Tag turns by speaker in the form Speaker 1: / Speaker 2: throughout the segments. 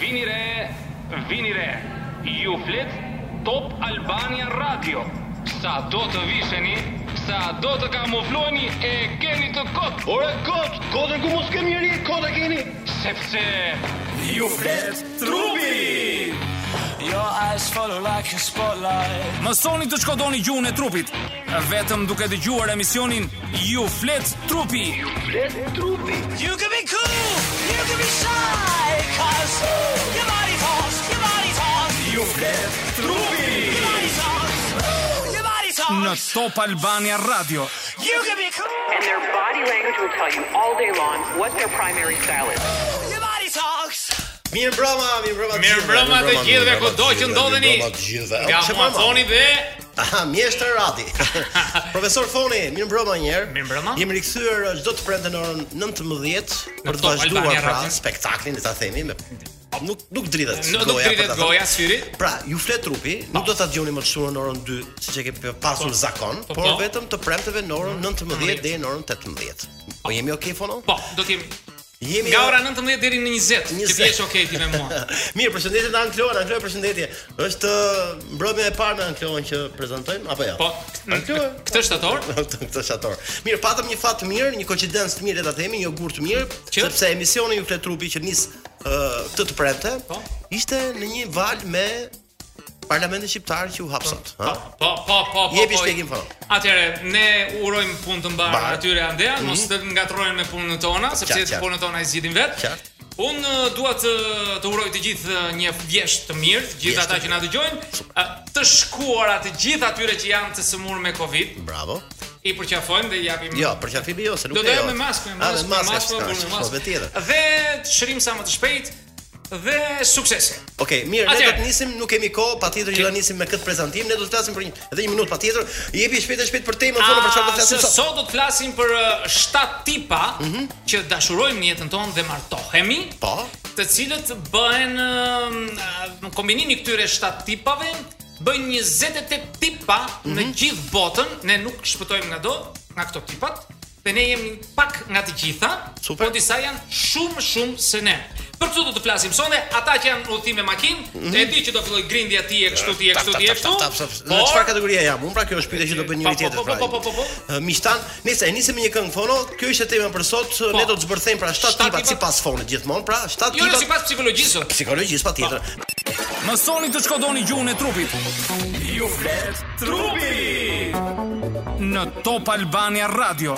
Speaker 1: Vini re, vini re. Ju flet Top Albania Radio. Sa do të visheni, sa do të kamufloheni e keni të kot,
Speaker 2: Ore kot, kotën ku mos kemi njëri, kot e keni.
Speaker 1: sepse
Speaker 3: Ju flet trupi Your eyes follow like a spotlight
Speaker 4: Mësoni të shkodoni gjuhën e trupit, vetëm duke dëgjuar emisionin Ju flet trupi.
Speaker 2: Flet trupi.
Speaker 3: You can be cool, you can be shy Cause your body talks, your body talks
Speaker 2: Ju flet trupi.
Speaker 3: Your body talks, your body
Speaker 4: Në
Speaker 3: talks
Speaker 4: Top Albania Radio.
Speaker 3: You can be cool,
Speaker 5: And their body language will tell you all day long what their primary style is.
Speaker 3: your body talks
Speaker 2: Mirë mbrëma, mirë mbrëma. të
Speaker 6: Mirë
Speaker 2: gjithëve,
Speaker 6: mbrëma të
Speaker 2: mirë
Speaker 6: gjithëve
Speaker 2: mirë mbrëma
Speaker 6: kudo
Speaker 2: të
Speaker 6: që
Speaker 2: gjithëve,
Speaker 6: ndodheni.
Speaker 2: mirë mbrëma të gjithëve.
Speaker 6: Nga
Speaker 2: O, çfarë mama?
Speaker 6: Amazoni dhe
Speaker 2: Aha, mjeshtë e rati. Profesor Foni, mirë mbrëma një herë.
Speaker 6: Mirë mbrëma.
Speaker 2: Jemi rikthyer uh, çdo të premte në orën 19
Speaker 6: Në
Speaker 2: për
Speaker 6: Top
Speaker 2: të vazhduar
Speaker 6: Albania
Speaker 2: pra
Speaker 6: Radio.
Speaker 2: spektaklin, le ta themi me nuk nuk dridhet
Speaker 6: Nuk- nuk
Speaker 2: goja, për
Speaker 6: dridhet
Speaker 2: ta thënë.
Speaker 6: goja, syri.
Speaker 2: Pra, ju flet trupi, nuk do ta dëgjoni më të shumë në orën 2, siç e ke pasur zakon,
Speaker 6: po,
Speaker 2: por
Speaker 6: po.
Speaker 2: vetëm të premteve në orën 19
Speaker 6: 19.
Speaker 2: deri në orën 18. Po jemi okay Fono?
Speaker 6: po, do të kemi
Speaker 2: Jemi
Speaker 6: nga ora 19 deri në 20.
Speaker 2: 20.
Speaker 6: Që ti jesh okay ti me mua.
Speaker 2: Mirë, përshëndetje të Ankloa, Ankloa përshëndetje. Është ë, mbrëmja e parë me Ankloan që prezantojmë apo jo?
Speaker 6: Po, në-
Speaker 2: Ankloa.
Speaker 6: këtë shtator
Speaker 2: këtë shator. Mirë, patëm një fat të mirë, një koincidencë të mirë le ta themi, një gur të mirë,
Speaker 6: Që?
Speaker 2: sepse emisioni ju flet trupi që nis ë, këtë të premte,
Speaker 6: Po.
Speaker 2: ishte në një val me parlamentin shqiptar që u hap sot,
Speaker 6: Po,
Speaker 2: ha?
Speaker 6: po, po, po.
Speaker 2: Jepi
Speaker 6: po,
Speaker 2: shpjegim, po.
Speaker 6: Atëherë, ne urojmë punë të mbar
Speaker 2: Mbar.
Speaker 6: atyre andeja, mos të ngatrojnë me punën tona, sepse
Speaker 2: Mhm. qartë.
Speaker 6: punën tona i zgjidhin vetë.
Speaker 2: Qartë.
Speaker 6: Unë eh, dua të të uroj të gjithë eh, një vjesht të mirë, të gjithë
Speaker 2: Vjesht
Speaker 6: ata
Speaker 2: të
Speaker 6: që na dëgjojnë, eh, të shkuara të gjithë atyre që janë të sëmurë me Covid,
Speaker 2: Bravo.
Speaker 6: i përqafojmë dhe i japim
Speaker 2: Jo, për qafibi jo, se nuk
Speaker 6: Do të
Speaker 2: lejohet.
Speaker 6: jem me maskë, me
Speaker 2: A,
Speaker 6: maskë, me maskë,
Speaker 2: s'ka,
Speaker 6: me maskë,
Speaker 2: s'ka,
Speaker 6: me maskë.
Speaker 2: s'ka, tjetër.
Speaker 6: Dhe të shërim sa më të shpejt dhe suksese.
Speaker 2: Okej, mirë, ne do
Speaker 6: Atëherë.
Speaker 2: të nisim, nuk kemi kohë, patjetër që do
Speaker 6: Që-
Speaker 2: nisim me këtë prezantim, ne do të flasim për një edhe një minutë patjetër. Jepi shpejt e shpejt për temën
Speaker 6: A,
Speaker 2: tonë Po për çfarë do të
Speaker 6: se
Speaker 2: flasim sot.
Speaker 6: sot do të flasim për uh, 7 tipa që dashurojmë në jetën tonë dhe martohemi,
Speaker 2: Po.
Speaker 6: të cilët bëhen uh, kombinimi i këtyre 7 tipave bën 28 tipa në
Speaker 2: Mhm.
Speaker 6: gjithë botën, ne nuk shpëtojmë nga do, nga këto tipat, dhe ne jemi pak nga të gjitha,
Speaker 2: Super.
Speaker 6: po disa janë shumë shumë se ne. Për këtë do të flasim sonde, ata që janë udhëtim me makinë, e di që do filloj grindja ti e kështu ti e
Speaker 2: Mhm. Tap,
Speaker 6: kështu
Speaker 2: tap,
Speaker 6: ti e
Speaker 2: tap,
Speaker 6: kështu.
Speaker 2: tap, tap, tap. Në
Speaker 6: por-
Speaker 2: çfarë kategorie jam? Unë pra kjo është pyetja që do bëj
Speaker 6: Po,
Speaker 2: njëri
Speaker 6: po,
Speaker 2: tjetër.
Speaker 6: po,
Speaker 2: pra.
Speaker 6: po, po, po, po.
Speaker 2: Ë, Miqtan, nëse e nisim me një këngë fono, kjo ishte tema për sot, ne do të zbërthejmë pra 7
Speaker 6: Shtat
Speaker 2: tipat
Speaker 6: Po. tipat.
Speaker 2: sipas fonit gjithmonë, pra 7
Speaker 6: Jo, jo,
Speaker 2: tipat
Speaker 6: sipas psikologjisë. Po.
Speaker 2: psikologjisë patjetër.
Speaker 4: Mësoni të shkodoni gjuhën e trupit.
Speaker 3: You flet trupi
Speaker 4: Në Top Albania Radio.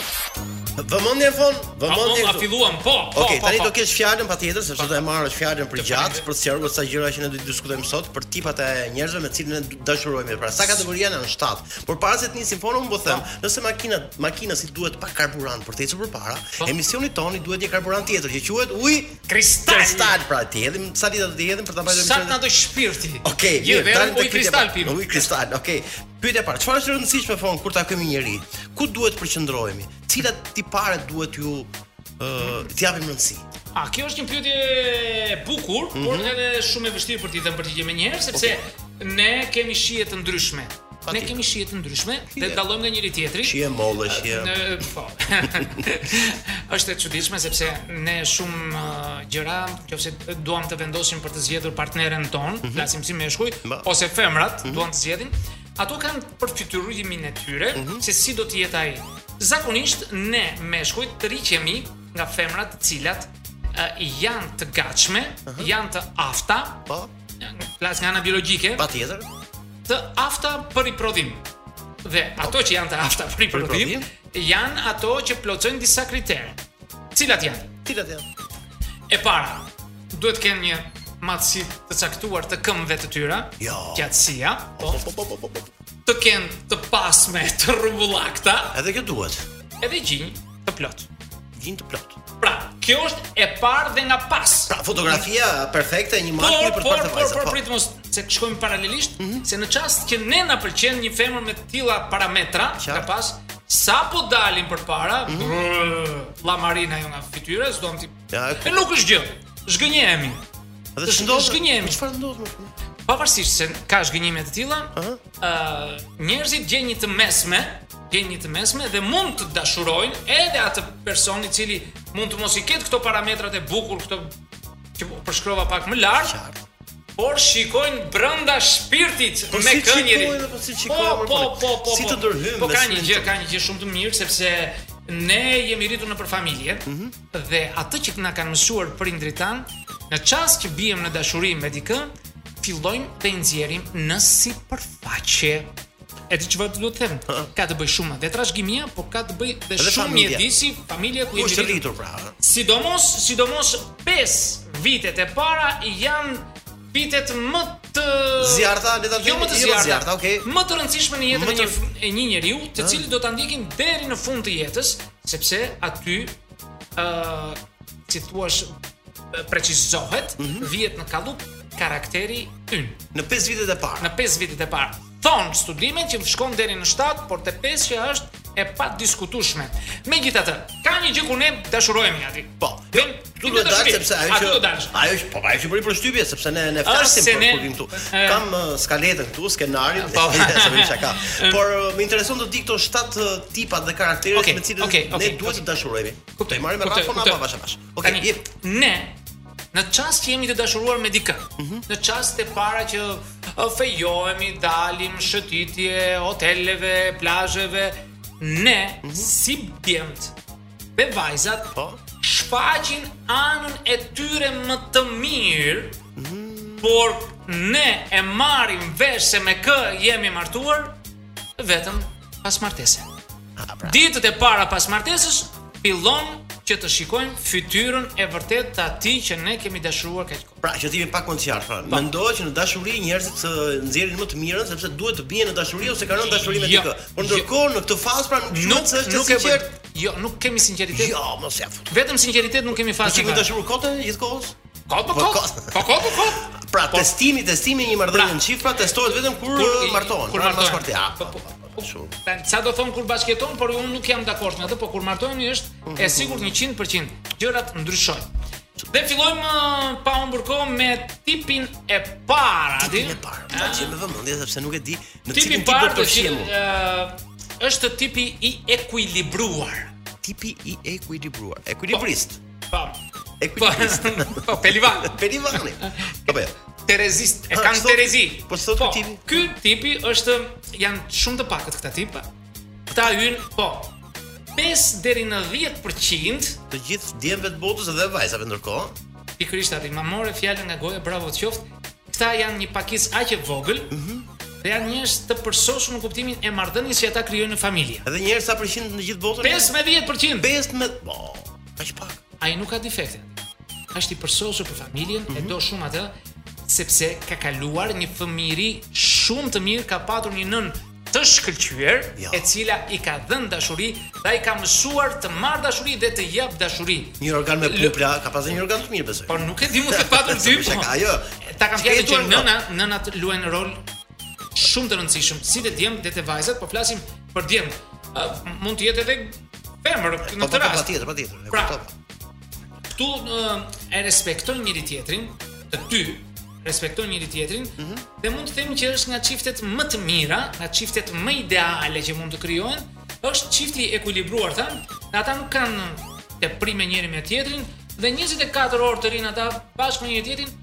Speaker 2: Vëmendje fon,
Speaker 6: Apo
Speaker 2: vëmendje.
Speaker 6: a
Speaker 2: këtu.
Speaker 6: filluam, po, po,
Speaker 2: Okej,
Speaker 6: po.
Speaker 2: tani
Speaker 6: po.
Speaker 2: do kesh fjalën patjetër, sepse do e marrësh fjalën për
Speaker 6: Të
Speaker 2: gjatë
Speaker 6: falenderoj.
Speaker 2: për të sqaruar sa gjëra që ne do të diskutojmë sot për tipat e njerëzve me të cilën ne dashurojmë. Pra, sa kategoria janë në 7. Por para se të nisim fonon, po them, nëse makina makina si duhet pa karburant për të ecur përpara,
Speaker 6: Po.
Speaker 2: emisioni toni duhet një karburant tjetër që quhet uji
Speaker 6: Kristal.
Speaker 2: kristal. Pra, ti hedhim sa litra do të hedhim për ta bërë
Speaker 6: Sa të na
Speaker 2: emisionin.
Speaker 6: do shpirti.
Speaker 2: Okej,
Speaker 6: Gjithë
Speaker 2: mirë,
Speaker 6: verën
Speaker 2: dalim
Speaker 6: po
Speaker 2: tek
Speaker 6: i
Speaker 2: pyetja e
Speaker 6: kristal
Speaker 2: parë.
Speaker 6: pim.
Speaker 2: Uji kristal, okej. Pyetja e parë, çfarë është e rëndësishme fon kur takojmë një njerëz? Ku duhet të përqendrohemi? Cilat tipare duhet ju ë t'i japim rëndësi?
Speaker 6: A kjo është një pyetje e bukur, por edhe shumë e vështirë për ti të përgjigje me njerë, sepse ne kemi shije të ndryshme. Ne
Speaker 2: tjetër.
Speaker 6: kemi shije të ndryshme dhe
Speaker 2: Shije.
Speaker 6: dallojmë nga njëri tjetri.
Speaker 2: Shije mollë, shije.
Speaker 6: Në, po. është e çuditshme sepse ne shumë uh, gjëra, nëse duam të vendosim për të zgjedhur partneren ton, flasim si meshkuj
Speaker 2: Ba.
Speaker 6: ose femrat duan të zgjedhin, ato kanë përfytyrimin e tyre se si do të jetë ai. Zakonisht ne meshkujt të riqemi nga femrat të cilat uh, janë të gatshme, janë të afta,
Speaker 2: Po,
Speaker 6: flas nga ana biologjike,
Speaker 2: patjetër.
Speaker 6: të afta për i prodhim. Dhe ato që janë të afta për i
Speaker 2: i
Speaker 6: prodhim, janë ato që plotësojnë disa kriterë. Cilat janë?
Speaker 2: Cilat janë?
Speaker 6: E para, duhet të kenë një matësi të caktuar të këmbëve të tyra,
Speaker 2: Jo.
Speaker 6: gjatësia, po,
Speaker 2: Po po po po po.
Speaker 6: të kenë të pasme, të rrumbullakta,
Speaker 2: Edhe kjo duhet.
Speaker 6: edhe gjinj të plot.
Speaker 2: Gjin të plot.
Speaker 6: Pra, kjo është e parë dhe nga pas.
Speaker 2: Pra fotografia perfekte e një
Speaker 6: Por,
Speaker 2: makine për
Speaker 6: Po, por,
Speaker 2: të parë
Speaker 6: por,
Speaker 2: vajza.
Speaker 6: por,
Speaker 2: po. Mhm.
Speaker 6: prit mos se të shkojmë paralelisht, se në çast që ne na pëlqen një femër me të tilla parametra,
Speaker 2: Qartë. Mhm.
Speaker 6: nga pas sapo dalin përpara, brrr, la marina jo nga fytyra, s'dom ti.
Speaker 2: Ja, e
Speaker 6: e nuk është gjë. Zhgënjehemi.
Speaker 2: Edhe ç'ndodh?
Speaker 6: zhgënjemi.
Speaker 2: Çfarë ndodh më?
Speaker 6: Pavarësisht se ka zhgënjime të tilla, ë
Speaker 2: Aha.
Speaker 6: njerëzit gjejnë një të mesme, gjejnë një të mesme dhe mund të dashurojnë edhe atë person i cili mund të mos i ketë këto parametrat e bukur, këto që po përshkrova pak më lart,
Speaker 2: Qartë.
Speaker 6: por shikojnë brenda shpirtit
Speaker 2: Po
Speaker 6: me
Speaker 2: si
Speaker 6: kënjëri.
Speaker 2: shikojnë, po si shikojnë,
Speaker 6: po,
Speaker 2: mërë,
Speaker 6: po,
Speaker 2: po,
Speaker 6: po, po,
Speaker 2: si
Speaker 6: po.
Speaker 2: të ndërhyjnë
Speaker 6: Po
Speaker 2: me
Speaker 6: ka një
Speaker 2: syrin
Speaker 6: gjë,
Speaker 2: tonë.
Speaker 6: ka një gjë shumë të mirë sepse ne jemi rritur nëpër familje
Speaker 2: Mhm.
Speaker 6: dhe atë që na kanë mësuar prindrit tan, në çast që bijem në dashuri me dikë, fillojmë të i nxjerrim në sipërfaqe. E di çfarë do të them? Ka të bëj shumë dhe trashëgimia, por po ka të bëj dhe,
Speaker 2: Edhe
Speaker 6: shumë
Speaker 2: familja.
Speaker 6: mjedisi, familje ku
Speaker 2: Ku
Speaker 6: jemi
Speaker 2: është rritur pra? ha?
Speaker 6: Sidomos, sidomos 5 vitet e para janë vitet më të
Speaker 2: Zjarta, le ta
Speaker 6: jo
Speaker 2: themi,
Speaker 6: më të
Speaker 2: jo më
Speaker 6: zjarta,
Speaker 2: zjarta, okej.
Speaker 6: Më të rëndësishme në jetën
Speaker 2: Më
Speaker 6: e
Speaker 2: të-
Speaker 6: një f- e një njeriu, të cilët do ta ndjekin deri në fund të jetës, sepse aty ë si thua precizohet,
Speaker 2: Mhm.
Speaker 6: vjet në kallup karakteri ynë
Speaker 2: Në 5 vitet e para.
Speaker 6: në 5 vitet e parë. Thonë studimet që shkon deri në 7, por te 5 që është e pa diskutueshme. Megjithatë, ka një gjë ku ne dashurohemi aty.
Speaker 2: Po.
Speaker 6: Jo,
Speaker 2: Tu do të dalë sepse ajo
Speaker 6: aty
Speaker 2: që
Speaker 6: do dalësh.
Speaker 2: ajo që po ajo që bëri për shtypje sepse ne ne flasim
Speaker 6: se
Speaker 2: për
Speaker 6: ne-
Speaker 2: kur vim këtu.
Speaker 6: e-
Speaker 2: Kam uh, skaletën këtu, skenarin,
Speaker 6: Po.
Speaker 2: se vim çka. Por uh, më intereson të di këto 7 tipat dhe karakteret
Speaker 6: Okej,
Speaker 2: me cilët
Speaker 6: okej, okej,
Speaker 2: ne duhet
Speaker 6: okej.
Speaker 2: të dashurohemi.
Speaker 6: Kuptoj,
Speaker 2: Do i marrim me
Speaker 6: kuptoj,
Speaker 2: rafon
Speaker 6: kuptoj.
Speaker 2: apo bash bash. Okej,
Speaker 6: Tani,
Speaker 2: jep.
Speaker 6: Ne në çast që jemi të dashuruar me dikë.
Speaker 2: Mhm.
Speaker 6: Në çast e para që ë, fejohemi, dalim, shëtitje, hoteleve, plazheve, ne
Speaker 2: Mhm.
Speaker 6: si djemt dhe vajzat
Speaker 2: Po.
Speaker 6: shfaqin anën e tyre më të mirë, por ne e marrim vesh se me kë jemi martuar vetëm pas martese.
Speaker 2: Ah, pra.
Speaker 6: Ditët e para pas martesës fillon që të shikojmë fytyrën e vërtet të atij që ne kemi dashuruar kaq kohë.
Speaker 2: Pra, që t'imi pak më të qartë, pra.
Speaker 6: Po.
Speaker 2: Mendohet që në dashuri njerëzit të nxjerrin më të mirën sepse duhet të bien në dashuri ose kanë rënë në dashuri me
Speaker 6: Jo,
Speaker 2: dikë. Por
Speaker 6: jo.
Speaker 2: ndërkohë në këtë fazë pra nuk duhet se është
Speaker 6: nuk
Speaker 2: e
Speaker 6: e bën.
Speaker 2: sinqert.
Speaker 6: Jo, nuk kemi sinqeritet.
Speaker 2: Jo, mos ja fut.
Speaker 6: Vetëm sinqeritet nuk kemi
Speaker 2: Ti
Speaker 6: fazë.
Speaker 2: ke dashur kotën gjithkohës?
Speaker 6: Kot po
Speaker 2: Po,
Speaker 6: kot.
Speaker 2: kot.
Speaker 6: Po kot po kot.
Speaker 2: Pra,
Speaker 6: Po.
Speaker 2: testimi, testimi i një marrëdhënie
Speaker 6: Pra.
Speaker 2: në çift pra testohet vetëm kur, eh, martohen.
Speaker 6: Kur
Speaker 2: pra,
Speaker 6: martohen.
Speaker 2: Pas martesës. Ah,
Speaker 6: Po, po, po,
Speaker 2: Shumë.
Speaker 6: Tani, Sa do thon kur bashketon, por unë nuk jam dakord me atë, po kur martohemi është
Speaker 2: Mhm.
Speaker 6: e sigurt 100% gjërat ndryshojnë. Dhe fillojmë ë, pa humbur kohë me tipin e parë, di?
Speaker 2: Tipin e parë. Ta gjej me vëmendje sepse nuk e di në
Speaker 6: Tipi
Speaker 2: cilin
Speaker 6: i
Speaker 2: po tip do
Speaker 6: parë
Speaker 2: të
Speaker 6: do
Speaker 2: fshihem unë.
Speaker 6: ë është tipi i ekuilibruar.
Speaker 2: Tipi i ekuilibruar, ekuilibrist,
Speaker 6: Po.
Speaker 2: ekuilibrist.
Speaker 6: Po, pelivan.
Speaker 2: Perivani. Po po.
Speaker 6: Terezist, e
Speaker 2: Ha,
Speaker 6: kanë
Speaker 2: ç'thot-
Speaker 6: Terezi.
Speaker 2: po ç'thot ky tipi?
Speaker 6: Ky tipi është janë shumë të pakët këta tipa. Këta hyn, po. 5 deri në 10%
Speaker 2: Të gjithë djemve të botës dhe vajzave ndërkohë.
Speaker 6: pikërisht aty. Ma more fjalën nga goja, bravo të qoftë. Këta janë një pakicë aq e vogël.
Speaker 2: Mhm.
Speaker 6: Dhe janë njerëz të përsosur në kuptimin e marrëdhënies që ata krijojnë në familje.
Speaker 2: Edhe njerëz sa përqind në gjithë botën?
Speaker 6: 5 me 10%.
Speaker 2: 15. Po. Kaq pak.
Speaker 6: ai nuk ka defekte. Është i përsosur për familjen,
Speaker 2: Mhm.
Speaker 6: e do shumë atë, sepse ka kaluar një fëmiri shumë të mirë, ka patur një nën të shkëlqyer,
Speaker 2: Jo.
Speaker 6: e cila i ka dhënë dashuri dhe ai ka mësuar të marr dashuri dhe të jap dashuri.
Speaker 2: Një organ me pupla, ka pasur një organ të mirë besoj.
Speaker 6: Po nuk e di mund të patur dy po.
Speaker 2: Shaka, jo. Po,
Speaker 6: Ta kam fjalën që
Speaker 2: Shketuar nga.
Speaker 6: nëna, nënat luajnë rol shumë të rëndësishëm, si te djemt dhe te vajzat, po flasim për djemt. Ë, Mund të jetë edhe femër
Speaker 2: Po
Speaker 6: në
Speaker 2: po
Speaker 6: këtë
Speaker 2: po,
Speaker 6: rast.
Speaker 2: patjetër, patjetër. e
Speaker 6: Pra,
Speaker 2: kuptova.
Speaker 6: Këtu ë, e respektojnë njëri tjetrin, të dy respektojnë njëri tjetrin dhe mund të themi që është nga çiftet më të mira, nga çiftet më ideale që mund të krijohen, është çifti i ekuilibruar thamë, dhe ata nuk kanë teprime njëri me tjetrin dhe 24 orë të rinë ata bashkë me njëri tjetrin,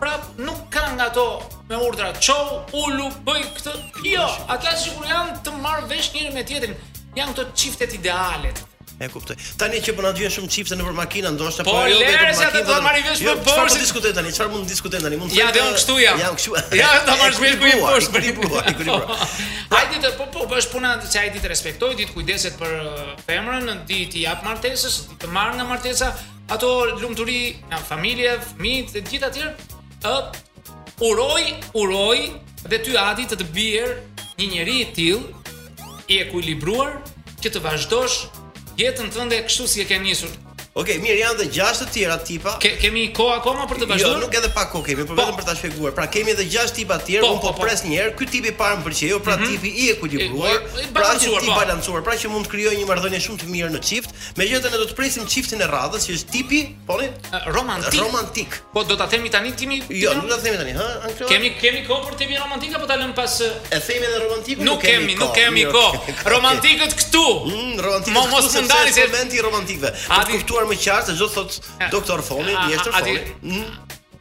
Speaker 6: prap nuk kanë nga ato me urdra çau, ulu, bëj këtë. Jo, ata sigur janë të marrë vesh njëri me tjetrin. Janë këto çiftet idealet.
Speaker 2: E kuptoj. Tani që po na dyen shumë çifte nëpër makina, ndoshta
Speaker 6: Po, lere, se atë do të marrin vesh për
Speaker 2: Çfarë po
Speaker 6: poshtë.
Speaker 2: diskutojmë tani? Çfarë mund të diskutojmë tani? Mund të
Speaker 6: Ja,
Speaker 2: thënë
Speaker 6: dhe
Speaker 2: të-
Speaker 6: unë kështu jam.
Speaker 2: Jam kështu.
Speaker 6: Ja, ta marrësh vesh për i
Speaker 2: Ekuilibruar,
Speaker 6: poshtë.
Speaker 2: ekuilibruar, ekuilibruar.
Speaker 6: Hajde të po po bësh puna se ai ditë respektoj, ditë kujdeset për uh, femrën, ditë i jap martesës, ditë të marr nga martesa ato lumturi nga familje, fëmijët e gjithë atje. ë uroj, uroj dhe ty Adi të të bjerë një njeri i tillë i ekuilibruar që të vazhdosh jetën tënde kështu si e ke nisur.
Speaker 2: Okej, mirë, janë edhe 6 të tjera tipa.
Speaker 6: Ke, kemi kohë akoma për të
Speaker 2: Jo,
Speaker 6: vazhduar?
Speaker 2: nuk edhe pak kohë kemi, por vetëm për ta shpjeguar. Pra kemi edhe 6 tipa të tjerë,
Speaker 6: Po,
Speaker 2: unë po
Speaker 6: po, po.
Speaker 2: pres një herë. Ky tipi i parë më pëlqeu, pra tipi i
Speaker 6: E-
Speaker 2: ekuilibruar,
Speaker 6: e- e
Speaker 2: pra që
Speaker 6: balancuar,
Speaker 2: ti
Speaker 6: po.
Speaker 2: balancuar, pra që mund të krijojë një marrëdhënie shumë të mirë në çift. Megjithatë ne do të presim çiftin e radhës, që është tipi, po ne,
Speaker 6: Ë, romantik.
Speaker 2: romantik.
Speaker 6: Po do ta themi tani timi?
Speaker 2: Jo, nuk do të themi tani, ha? Ankleo?
Speaker 6: Kemi kemi kohë për temi romantik apo ta lëm pas eh,
Speaker 2: E themi edhe romantikun?
Speaker 6: Nuk kemi, nuk kemi
Speaker 2: mirë,
Speaker 6: kohë.
Speaker 2: okay.
Speaker 6: Romantikët këtu.
Speaker 2: Jo, Mm, romantikët.
Speaker 6: Mo- mos mundani se
Speaker 2: momenti i romantikëve. Për
Speaker 6: Adi-
Speaker 2: Po të kuptuar kuptuar më qartë se çdo thot doktor Foni,
Speaker 6: A- a-
Speaker 2: mjeshtër
Speaker 6: a
Speaker 2: Foni.
Speaker 6: di-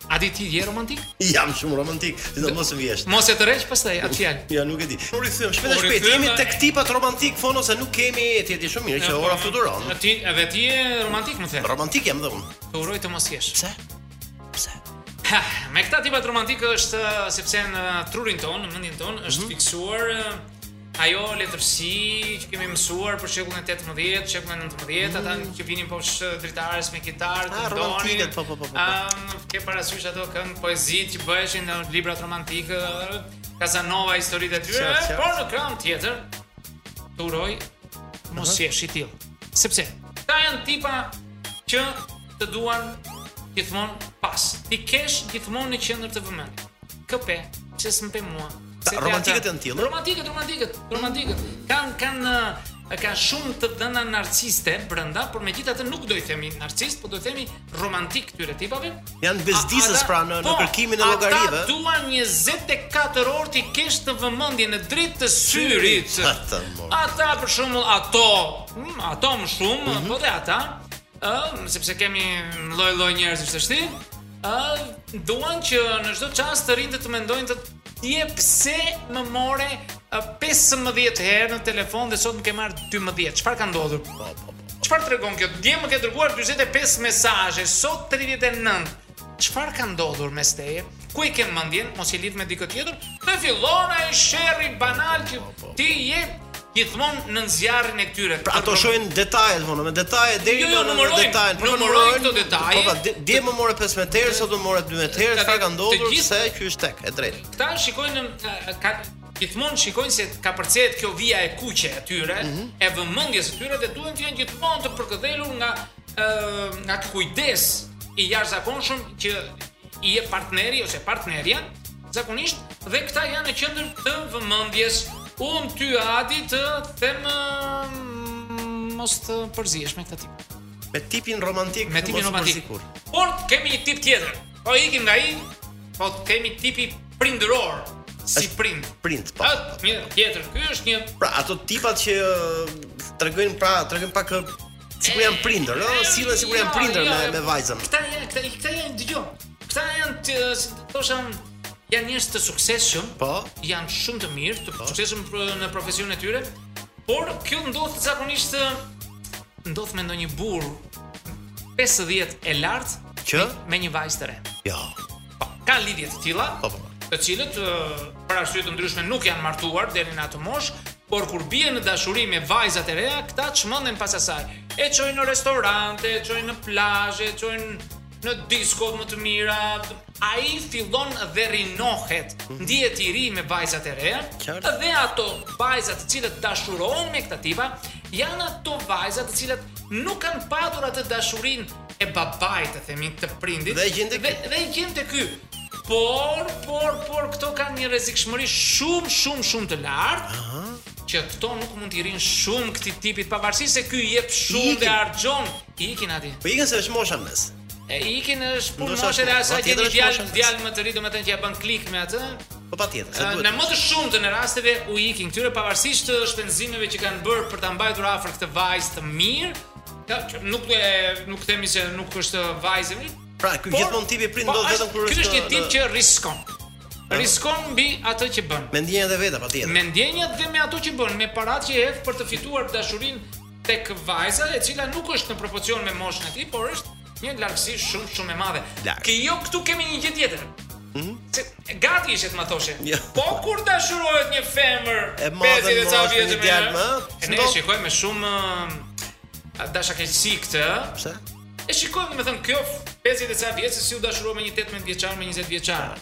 Speaker 6: A di ti je romantik?
Speaker 2: Jam shumë romantik, sidomos në vjesht.
Speaker 6: Mos e tërheq pastaj atë fjalë.
Speaker 2: Ja nuk e di. U rikthym shpejt e
Speaker 7: U
Speaker 2: shpejt.
Speaker 7: rikthyem,
Speaker 2: Jemi
Speaker 7: e-
Speaker 2: tek tipat romantik fon ose nuk kemi ti e di shumë mirë
Speaker 6: po.
Speaker 2: që ora fluturon.
Speaker 6: Ti edhe ti je romantik më the.
Speaker 2: Romantik jam dhe unë.
Speaker 6: Të uroj të mos jesh.
Speaker 2: Pse? Pse?
Speaker 6: Ha, me këta tipat romantik është uh, sepse në uh, trurin ton, në mendjen ton është
Speaker 2: Mhm.
Speaker 6: fiksuar uh, ajo letërsi që kemi mësuar për shekullin e 18, shekullin e 19, ata që vinin poshtë uh, dritares me kitarë,
Speaker 2: Mhm. Ah, romantiket, po, po, po, po, po.
Speaker 6: Ëm, ke parasysh ato këngë poezi që bëheshin në librat romantikë, ë, Casanova historitë e tyre,
Speaker 2: Qartë, qartë.
Speaker 6: por në këngë tjetër të uroj mos jesh i tillë. Sepse ta janë tipa që të duan gjithmonë pas. Ti kesh gjithmonë në qendër të vëmendjes. KP, që s'mpe mua. se
Speaker 2: Ta,
Speaker 6: te
Speaker 2: romantikët
Speaker 6: ata-
Speaker 2: janë tillë?
Speaker 6: Romantikët, romantikët, romantikët. Kan kan ë, ka shumë të dhëna narciste brenda, por megjithatë nuk do i themi narcist, por do i themi romantik këtyre tipave.
Speaker 2: Janë
Speaker 6: A-
Speaker 2: bezdisës
Speaker 6: ata-
Speaker 2: pra në, në
Speaker 6: po,
Speaker 2: kërkimin e llogarive.
Speaker 6: Ata duan 24 orë ti kesh të vëmendjen në dritë të syrit.
Speaker 2: Atë, mo.
Speaker 6: Ata për shembull ato, mm, ato më shumë, po dhe ata, ë, sepse kemi lloj-lloj njerëz si shti, ë, duan që në çdo çast të rinë të të mendojnë të je pse më more ë, 15 herë në telefon dhe sot më ke marrë 12. Çfarë ka ndodhur?
Speaker 2: Po, po, po.
Speaker 6: Çfarë tregon kjo? Dje më ke dërguar 45 mesazhe, sot 39. Çfarë ka ndodhur mes teje? Ku i ke mendjen? Mos i lidh me dikë tjetër? Dhe fillon ai sherrri banal që ti je gjithmonë në zjarrin e këtyre.
Speaker 2: Pra ato shohin detajet vonë, me detaje deri
Speaker 6: Jo, jo,
Speaker 2: në- në
Speaker 6: numërojnë,
Speaker 2: detajen. po,
Speaker 6: numërojnë këto detaje.
Speaker 2: Po, pra, di- dje më more 15 herë, sot më more 12 herë,
Speaker 6: Ka-
Speaker 2: çfarë ka
Speaker 6: të
Speaker 2: ndodhur,
Speaker 6: gjithë-
Speaker 2: pse ky është tek, e drejtë.
Speaker 6: Këta shikojnë eh, ka gjithmonë shikojnë se ka përcjet kjo vija e kuqe e tyre, e vëmendjes së tyre dhe duhen të jenë gjithmonë të përkëdhelur nga ë nga të kujdes i jashtëzakonshëm që i e partneri ose partnerja zakonisht dhe këta janë në qendër të vëmendjes. Unë ty Adi të them eh, mos të përzihesh me këtë tip.
Speaker 2: Me tipin romantik,
Speaker 6: Me tipin
Speaker 2: mos u
Speaker 6: romantik.
Speaker 2: përzikur.
Speaker 6: Por kemi një tip tjetër. Po ikim nga ai, po kemi tipi prindëror, si
Speaker 2: Është
Speaker 6: prind.
Speaker 2: Print, po.
Speaker 6: Atë një tjetër. Ky është një
Speaker 2: Pra ato tipat që ë, tregojnë pra tregojnë pak ë, sikur janë prindër, ëh, sillen sikur janë
Speaker 6: Jo,
Speaker 2: prindër
Speaker 6: jo,
Speaker 2: me
Speaker 6: jo.
Speaker 2: me vajzën.
Speaker 6: Këta janë, këta, këta janë dëgjoj. Këta janë të, si të thosha janë njerëz të suksesshëm.
Speaker 2: Po.
Speaker 6: Janë shumë të mirë, të suksesshëm pr- në profesionin e tyre. Por kjo ndodh zakonisht ë, ndodh me ndonjë burr 50 e lartë
Speaker 2: Që?
Speaker 6: me një vajzë të re.
Speaker 2: Jo.
Speaker 6: Ka lidhje të tilla,
Speaker 2: Po, po, po.
Speaker 6: të cilët ë, për arsye të ndryshme nuk janë martuar deri në atë moshë, por kur bie në dashuri me vajzat e reja, këta çmenden pas asaj. E çojnë në restorante, e çojnë në plazhe, e çojnë në diskot më të mira. Ai fillon dhe rinohet, ndihet i ri me vajzat e reja,
Speaker 2: Qartë.
Speaker 6: dhe ato vajzat të cilët dashurohen me këta tipa, janë ato vajzat të cilët nuk kanë patur atë dashurinë e babait, të themi, të prindit.
Speaker 2: Dhe e gjende
Speaker 6: dhe, dhe e gjente ky. Por, por, por këto kanë një rrezikshmëri shumë shumë shumë të lartë. Që këto nuk mund t'i rinë shumë këtij tipit pavarësisht se ky i jep shumë
Speaker 2: ikin.
Speaker 6: dhe argjon. I ikin aty.
Speaker 2: Po ikën se është mosha në mes.
Speaker 6: E i ikin është punë
Speaker 2: Ndoshta
Speaker 6: moshe
Speaker 2: është-
Speaker 6: dhe asaj
Speaker 2: po,
Speaker 6: që
Speaker 2: tjetër
Speaker 6: një
Speaker 2: është mosha
Speaker 6: djalë
Speaker 2: e mes.
Speaker 6: djalë më të ri domethënë që ja bën klik me atë.
Speaker 2: Po patjetër, se
Speaker 6: Ë,
Speaker 2: duhet.
Speaker 6: Në më të shumtën e rasteve u ikin këtyre pavarësisht të shpenzimeve që kanë bërë për ta mbajtur afër këtë vajzë të mirë. ka- që Nuk e nuk themi se nuk është vajzë e mirë,
Speaker 2: Pra, ky gjithmonë tipi prind
Speaker 6: po,
Speaker 2: ndodh vetëm kur
Speaker 6: Ky është një
Speaker 2: në-
Speaker 6: tip
Speaker 2: në-
Speaker 6: që riskon. Riskon mbi atë që bën.
Speaker 2: me ndjenjat e veta patjetër.
Speaker 6: Me ndjenjat dhe me ato që bën, me paratë që hedh për të fituar dashurinë tek vajza, e cila nuk është në proporcion me moshën e tij, por është një largësi shumë shumë e madhe.
Speaker 2: Larg.
Speaker 6: Që jo këtu kemi një gjë tjetër. Se, gati ishe të më thoshe.
Speaker 2: Hmm? Jo.
Speaker 6: Po kur dashurohet një femër
Speaker 2: E madhe
Speaker 6: 50 ca
Speaker 2: moshë, një
Speaker 6: vjetë me
Speaker 2: djalë më,
Speaker 6: E
Speaker 2: s'ndo?
Speaker 6: ne shikojmë me shumë ë, dashakeqësi këtë, ë,
Speaker 2: Pse?
Speaker 6: E shikojmë, me thënë, kjo 50 e ca vjetë se si u dashurua me një 18 vjeçar, me 20 vjeçar.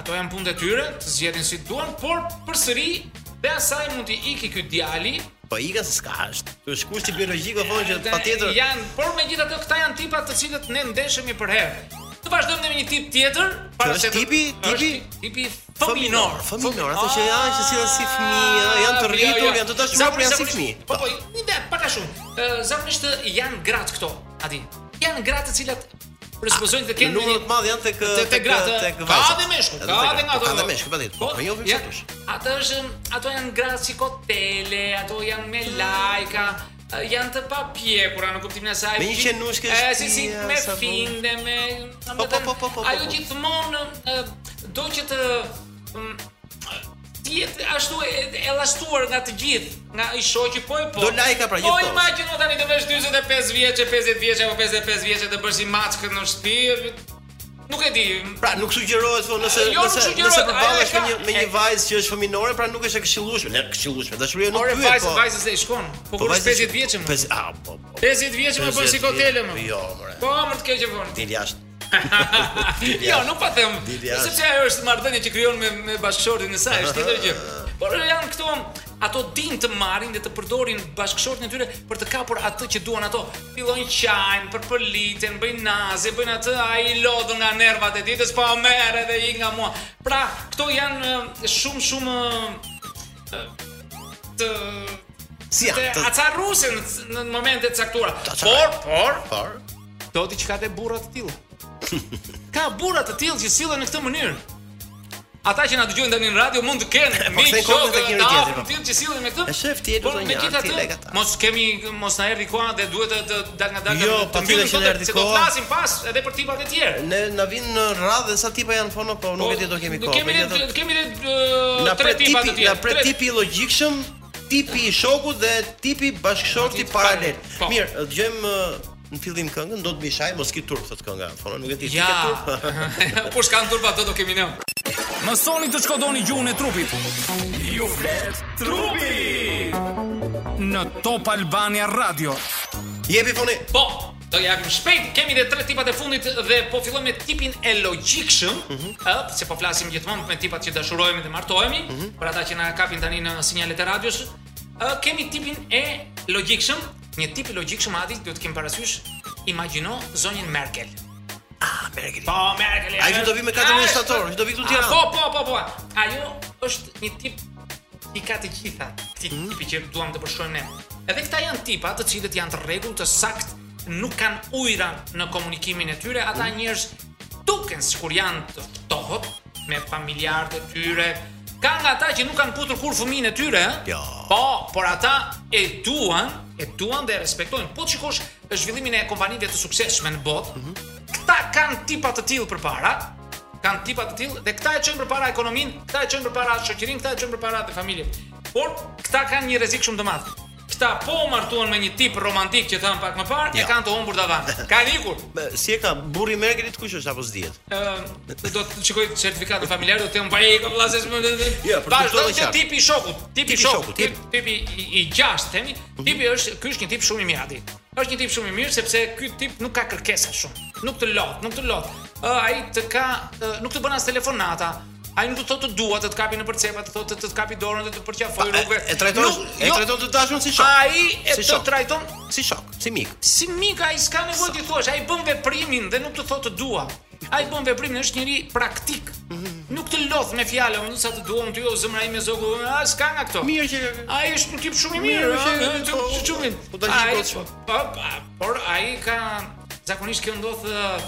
Speaker 6: Ato janë punë e tyre, të zgjedhin si duan, por përsëri dhe asaj mund t'i iki ky djali.
Speaker 2: Po ikën se s'ka është. Ky është kushti biologjik po thonë që
Speaker 6: dhe
Speaker 2: patjetër
Speaker 6: Janë, por megjithatë këta janë tipa të cilët ne ndeshemi për herë. Të vazhdojmë me një tip tjetër,
Speaker 2: Që
Speaker 6: se
Speaker 2: është
Speaker 6: të-
Speaker 2: tipi-
Speaker 6: është
Speaker 2: tipi-
Speaker 6: tipi fëminor.
Speaker 2: Fëminor, ato që janë që sillen si fëmijë, janë të
Speaker 6: Ah,
Speaker 2: rritur,
Speaker 6: jo, jo.
Speaker 2: janë të dashuruar, por janë si
Speaker 6: Zakonisht-
Speaker 2: fëmijë.
Speaker 6: Po po, një dhe pak a shumë. Ë, Zakonisht janë gratë këto, Adi. Janë gratë të cilat presupozojnë të
Speaker 2: Në
Speaker 6: kenë
Speaker 2: numër të Ah, madh janë tek
Speaker 6: Tek tek gratë,
Speaker 2: tek
Speaker 6: ka
Speaker 2: vajzat.
Speaker 6: dhe meshkuj,
Speaker 2: Edhe
Speaker 6: ka
Speaker 2: tek-
Speaker 6: dhe nga ato.
Speaker 2: Ka dhe meshkuj patjetër. Po, jo vetëm
Speaker 6: ja,
Speaker 2: satush.
Speaker 6: Ato është ato janë gratë si kotele, ato janë me lajka, ë, janë të papjekura në kuptimin e saj.
Speaker 2: Me një
Speaker 6: gjith-
Speaker 2: qenushkë
Speaker 6: ë,
Speaker 2: është
Speaker 6: si si
Speaker 2: pija,
Speaker 6: me
Speaker 2: sapun.
Speaker 6: finë dhe me
Speaker 2: po, po, po, po, po,
Speaker 6: ajo
Speaker 2: po.
Speaker 6: gjithmonë ë, do që të mm, të jetë ashtu e e llastuar nga të gjithë, nga i shoqi po e po.
Speaker 2: Do lajka pra gjithë
Speaker 6: Po
Speaker 2: kohës.
Speaker 6: imagjino tani të vesh 45 vjeçë, 50 vjeçë apo 55 vjeçë të bësh si maçkën në shtëpi. Nuk e di.
Speaker 2: Pra nuk sugjerohet thonë nëse
Speaker 6: Jo, nuk
Speaker 2: nëse
Speaker 6: sugjerohet,
Speaker 2: nëse
Speaker 6: ajo
Speaker 2: përballesh
Speaker 6: e
Speaker 2: me
Speaker 6: ka-
Speaker 2: një me një
Speaker 6: e-
Speaker 2: vajzë që është fëminore, pra nuk është e këshillueshme, ne këshillueshme. Dashuria nuk
Speaker 6: Ore
Speaker 2: pyet,
Speaker 6: vajzë,
Speaker 2: po.
Speaker 6: vajzë se i shkon. Po kur është 50 vjeçë më.
Speaker 2: 50, ah, po. po,
Speaker 6: 50 vjeçë më bën
Speaker 2: 50
Speaker 6: si kotele më.
Speaker 2: vjeç- Jo, more.
Speaker 6: Po, më të keq e vonë.
Speaker 2: Dil jashtë.
Speaker 6: jo, nuk pa them.
Speaker 2: Dil jashtë.
Speaker 6: Sepse ajo është marrëdhënie që krijon me me bashkëshortin e saj, është tjetër gjë. Por janë këto ato din të marrin dhe të përdorin bashkëshortin e tyre për të kapur atë që duan ato. Fillojnë qajm, përpëliten, bëjnë naze, bëjnë atë ai i lodhur nga nervat e ditës, pa merre dhe i nga mua. Pra, këto janë eh, shumë shumë eh, të
Speaker 2: Si janë?
Speaker 6: të
Speaker 2: të-
Speaker 6: acarrusin në momente të caktuara.
Speaker 2: acarrojnë.
Speaker 6: Por, por,
Speaker 2: Por,
Speaker 6: Do t'i çka te burra të tillë. Ka burra të tillë që sillen në këtë mënyrë. Ata që na dëgjojnë tani në radio mund të kenë
Speaker 2: po,
Speaker 6: miq
Speaker 2: kthejnë kokën tek njëri
Speaker 6: të
Speaker 2: tjetri,
Speaker 6: afërm
Speaker 2: po.
Speaker 6: tillë që sillen me këtë.
Speaker 2: E shef ti e
Speaker 6: Por
Speaker 2: lutem një,
Speaker 6: megjithatë,
Speaker 2: ti lek ata.
Speaker 6: Mos kemi mos na erdhi koha dhe duhet të, të dal nga dalga.
Speaker 2: Jo,
Speaker 6: të
Speaker 2: pa
Speaker 6: mbyllim këtë,
Speaker 2: tjetër që na erdhi
Speaker 6: se Do
Speaker 2: koha.
Speaker 6: flasim pas edhe për tipat e tjerë.
Speaker 2: ne na vinë në radhë dhe sa tipa janë fono, po nuk e di do kemi kohë.
Speaker 6: Kemi
Speaker 2: po,
Speaker 6: ne
Speaker 2: le të-
Speaker 6: kemi ne
Speaker 2: Na
Speaker 6: tre
Speaker 2: pret
Speaker 6: tipa
Speaker 2: tipi,
Speaker 6: të
Speaker 2: na
Speaker 6: tjerë.
Speaker 2: pret
Speaker 6: Tre-
Speaker 2: tipi i logjikshëm, tipi i shokut dhe tipi bashkëshorti
Speaker 6: Tipi
Speaker 2: paralel.
Speaker 6: paralel, po.
Speaker 2: Mirë, dëgjojmë ë, në fillim këngën, do të më shaj, mos ki turp thot kënga. Fono nuk e di, ti
Speaker 6: Ja.
Speaker 2: ke turp.
Speaker 6: Kur shkan turpa ato do kemi ne.
Speaker 4: Mësoni të shkodoni gjuhën e trupit
Speaker 3: Ju flet trupi
Speaker 4: në Top Albania Radio.
Speaker 2: Jepi foni.
Speaker 6: Po, do japim shpejt. Kemi edhe tre tipat e fundit dhe po fillojmë me tipin e logjikshëm, ëh, se po flasim gjithmonë me tipat që dashurohemi dhe martohemi, për ata që na kapin tani në sinjalet e radios. Ë kemi tipin e logjikshëm, një tip i logjikshëm ati duhet kemi parasysh, imagjino zonjën Merkel.
Speaker 2: Ah, Merkel.
Speaker 6: Po, Merkel. e-
Speaker 2: Ai që do vi me 14 shtator, që do vi këtu në
Speaker 6: A,
Speaker 2: Tiranë.
Speaker 6: Po, po, po, po. Ajo është një tip i ka të gjitha këti
Speaker 2: Mhm.
Speaker 6: tipi që duam të përshkruajmë ne. Edhe këta janë tipa të cilët janë të rregull, të sakt, nuk kanë ujra në komunikimin e tyre, ata
Speaker 2: Mhm.
Speaker 6: njerëz duken sikur janë të ftohët me familjarët e tyre. Ka nga ata që nuk kanë putur kur fëmijën e tyre, ë?
Speaker 2: Jo.
Speaker 6: Po, por ata e duan, e duan dhe e respektojnë. Po të shikosh zhvillimin e kompanive të suksesshme në botë, këta kanë tipa të tillë përpara, kanë tipa të tillë dhe këta e çojnë përpara ekonominë, këta e çojnë përpara shoqërinë, këta e çojnë përpara dhe familjen. Por këta kanë një rrezik shumë të madh. Këta po u martuan me një tip romantik që tham pak më parë, e
Speaker 2: Ja.
Speaker 6: kanë të humbur davan. Kanë ikur.
Speaker 2: Me- Si e ka burri Merkelit kush është apo s'dihet?
Speaker 6: Ë, Ehm, do të shikoj certifikatën familjare, do të jem pa ikë vëllazësh më.
Speaker 2: Ja, për të
Speaker 6: Vazhdo
Speaker 2: kuptuar dhe
Speaker 6: që
Speaker 2: qartë.
Speaker 6: tipi i shokut, tipi i
Speaker 2: Tipi Mhm. i
Speaker 6: shokut,
Speaker 2: shokut,
Speaker 6: tip- tipi i- i gjashtë themi, tipi është ky është një tip shumë i mirë aty. Është një tip shumë i mirë sepse ky tip nuk ka kërkesa shumë. Nuk të lot, nuk të lot. Ë, ai të ka ë, nuk të bën as telefonata. Ai nuk të thotë të dua të të kapi në përcepa, të thotë të të kapi dorën dhe të përqafoj
Speaker 2: Pa, e-
Speaker 6: rrugëve.
Speaker 2: E trajton
Speaker 6: Nuk-
Speaker 2: e
Speaker 6: jo,
Speaker 2: trajton të dashun si shok.
Speaker 6: Ai e
Speaker 2: Si
Speaker 6: të
Speaker 2: shok.
Speaker 6: trajton
Speaker 2: si shok, si mik.
Speaker 6: si mik ai s'ka nevojë ti thuash, ai bën veprimin dhe nuk të thotë të dua. Ai bën veprimin, është njëri praktik. Nuk të lodh me fjalë, unë sa të dua unë ty o zëmra ime zogu, a s'ka nga këto.
Speaker 2: Mirë që
Speaker 6: Ai është një tip shumë i mirë,
Speaker 2: Mirë,
Speaker 6: ëh,
Speaker 2: që-
Speaker 6: ëh,
Speaker 2: po,
Speaker 6: që- që- shumë i
Speaker 2: po ta
Speaker 6: Ai-
Speaker 2: gjithë kot,
Speaker 6: po, pa- Por ai ka zakonisht kjo ndodh ëh,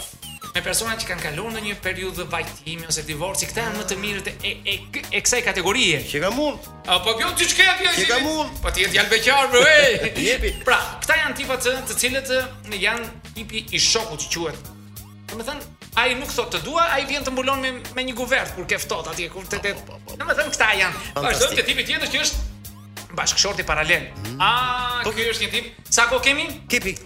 Speaker 6: me persona që kanë kaluar në një periudhë vajtimi ose divorci, këta janë më të mirët e e, e, e kësaj kategorie.
Speaker 2: që kam unë.
Speaker 6: A po kjo ti çka kjo?
Speaker 2: Ti ka mund.
Speaker 6: Po ti je djalë beqar, bro, ej.
Speaker 2: Jepi.
Speaker 6: Pra, këta janë tipa të, të cilët e, janë tipi i shokut që quhet. Domethënë, ai nuk thotë të dua, ai vjen të mbulon me me një guvert kur ke ftohtë atje, kur te te.
Speaker 2: Po,
Speaker 6: Domethënë këta janë. Vazhdojmë te tipi tjetër që është bashkëshorti paralel. A, Mm. Ah, ky është një tip. Sa kohë kemi?
Speaker 2: Kepi.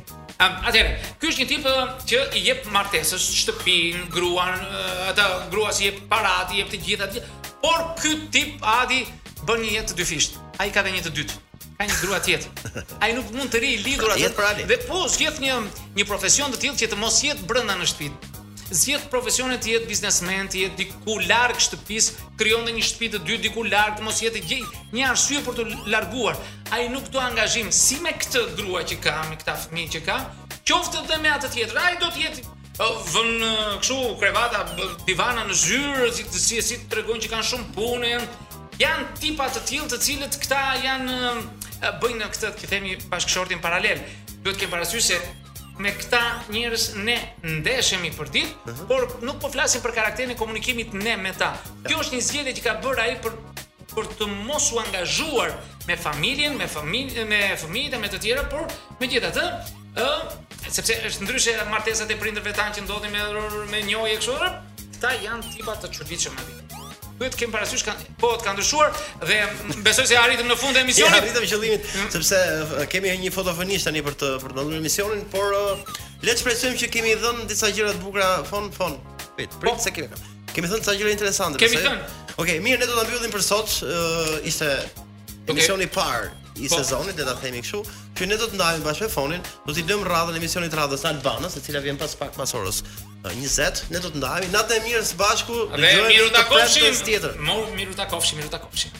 Speaker 6: Um, atëherë, ky është një tip ë, që i jep martesës shtëpinë, gruan, ë, ata grua si jep parat, i jep të gjitha, të gjitha. Por ky tip Adi bën një jetë të dyfisht. Ai ka dhe një të dytë. Ka një grua tjetër. Ai nuk mund të ri i lidhur
Speaker 2: Pra,
Speaker 6: atë.
Speaker 2: jetë paralel.
Speaker 6: Dhe po zgjedh një një profesion të tillë që të mos jetë brenda në shtëpi. Zgjedh profesionin të jetë biznesmen, të jetë diku larg shtëpisë, krijon dhe një shtëpi të dytë diku larg, të mos jetë gjej një arsye për të larguar. Ai nuk do angazhim si me këtë grua që ka, me këtë fëmijë që ka, qoftë edhe me atë tjetër. Ai do të jetë ë, vën ë, kështu krevata, bë- divana në zyrë, si si si të tregojnë që kanë shumë punë, janë janë tipa të tillë të cilët këta janë ë, bëjnë në këtë, që themi, bashkëshortin paralel. Duhet të kemi parasysh se me këta njerëz ne ndeshemi për ditë, por nuk po flasim për karakterin e komunikimit ne me ta. Kjo është një zgjedhje që ka bërë ai për për të mos u angazhuar me familjen, me familjen, me fëmijët e me të tjera, por megjithatë, ë sepse është ndryshe martesat e prindërve tanë që ndodhin me me njohje kështu, këta janë tipa të çuditshëm aty. Duhet të kem parasysh kanë po të kanë ndryshuar dhe m, besoj se arritëm në fund e
Speaker 2: Ja
Speaker 6: emisionit.
Speaker 2: arritëm qëllimin, sepse e, kemi një fotofonist tani për të për të ndalur emisionin, por e, le të shpresojmë që kemi dhënë disa gjëra të bukura fon fon. Prit, prit se kemi. Kemi thënë disa gjëra interesante.
Speaker 6: Po. Kemi
Speaker 2: pse-
Speaker 6: thënë.
Speaker 2: Okej, mirë, ne do ta mbyllim për sot. e, ishte emisioni i parë i
Speaker 6: Po.
Speaker 2: sezonit, le ta themi kështu, që ne do të ndajmë bashkë me fonin, do t'i lëmë radhën e emisionit radhës në Albanës, e cila vjen pas pak pas orës eh, e, 20, ne do të ndajemi natën e mirë së bashku,
Speaker 6: Dhe
Speaker 2: dëgjojmë
Speaker 6: miru
Speaker 2: të
Speaker 6: takofshim.
Speaker 2: premtes tjetër.
Speaker 6: Mo- Miru takofshim, miru takofshim.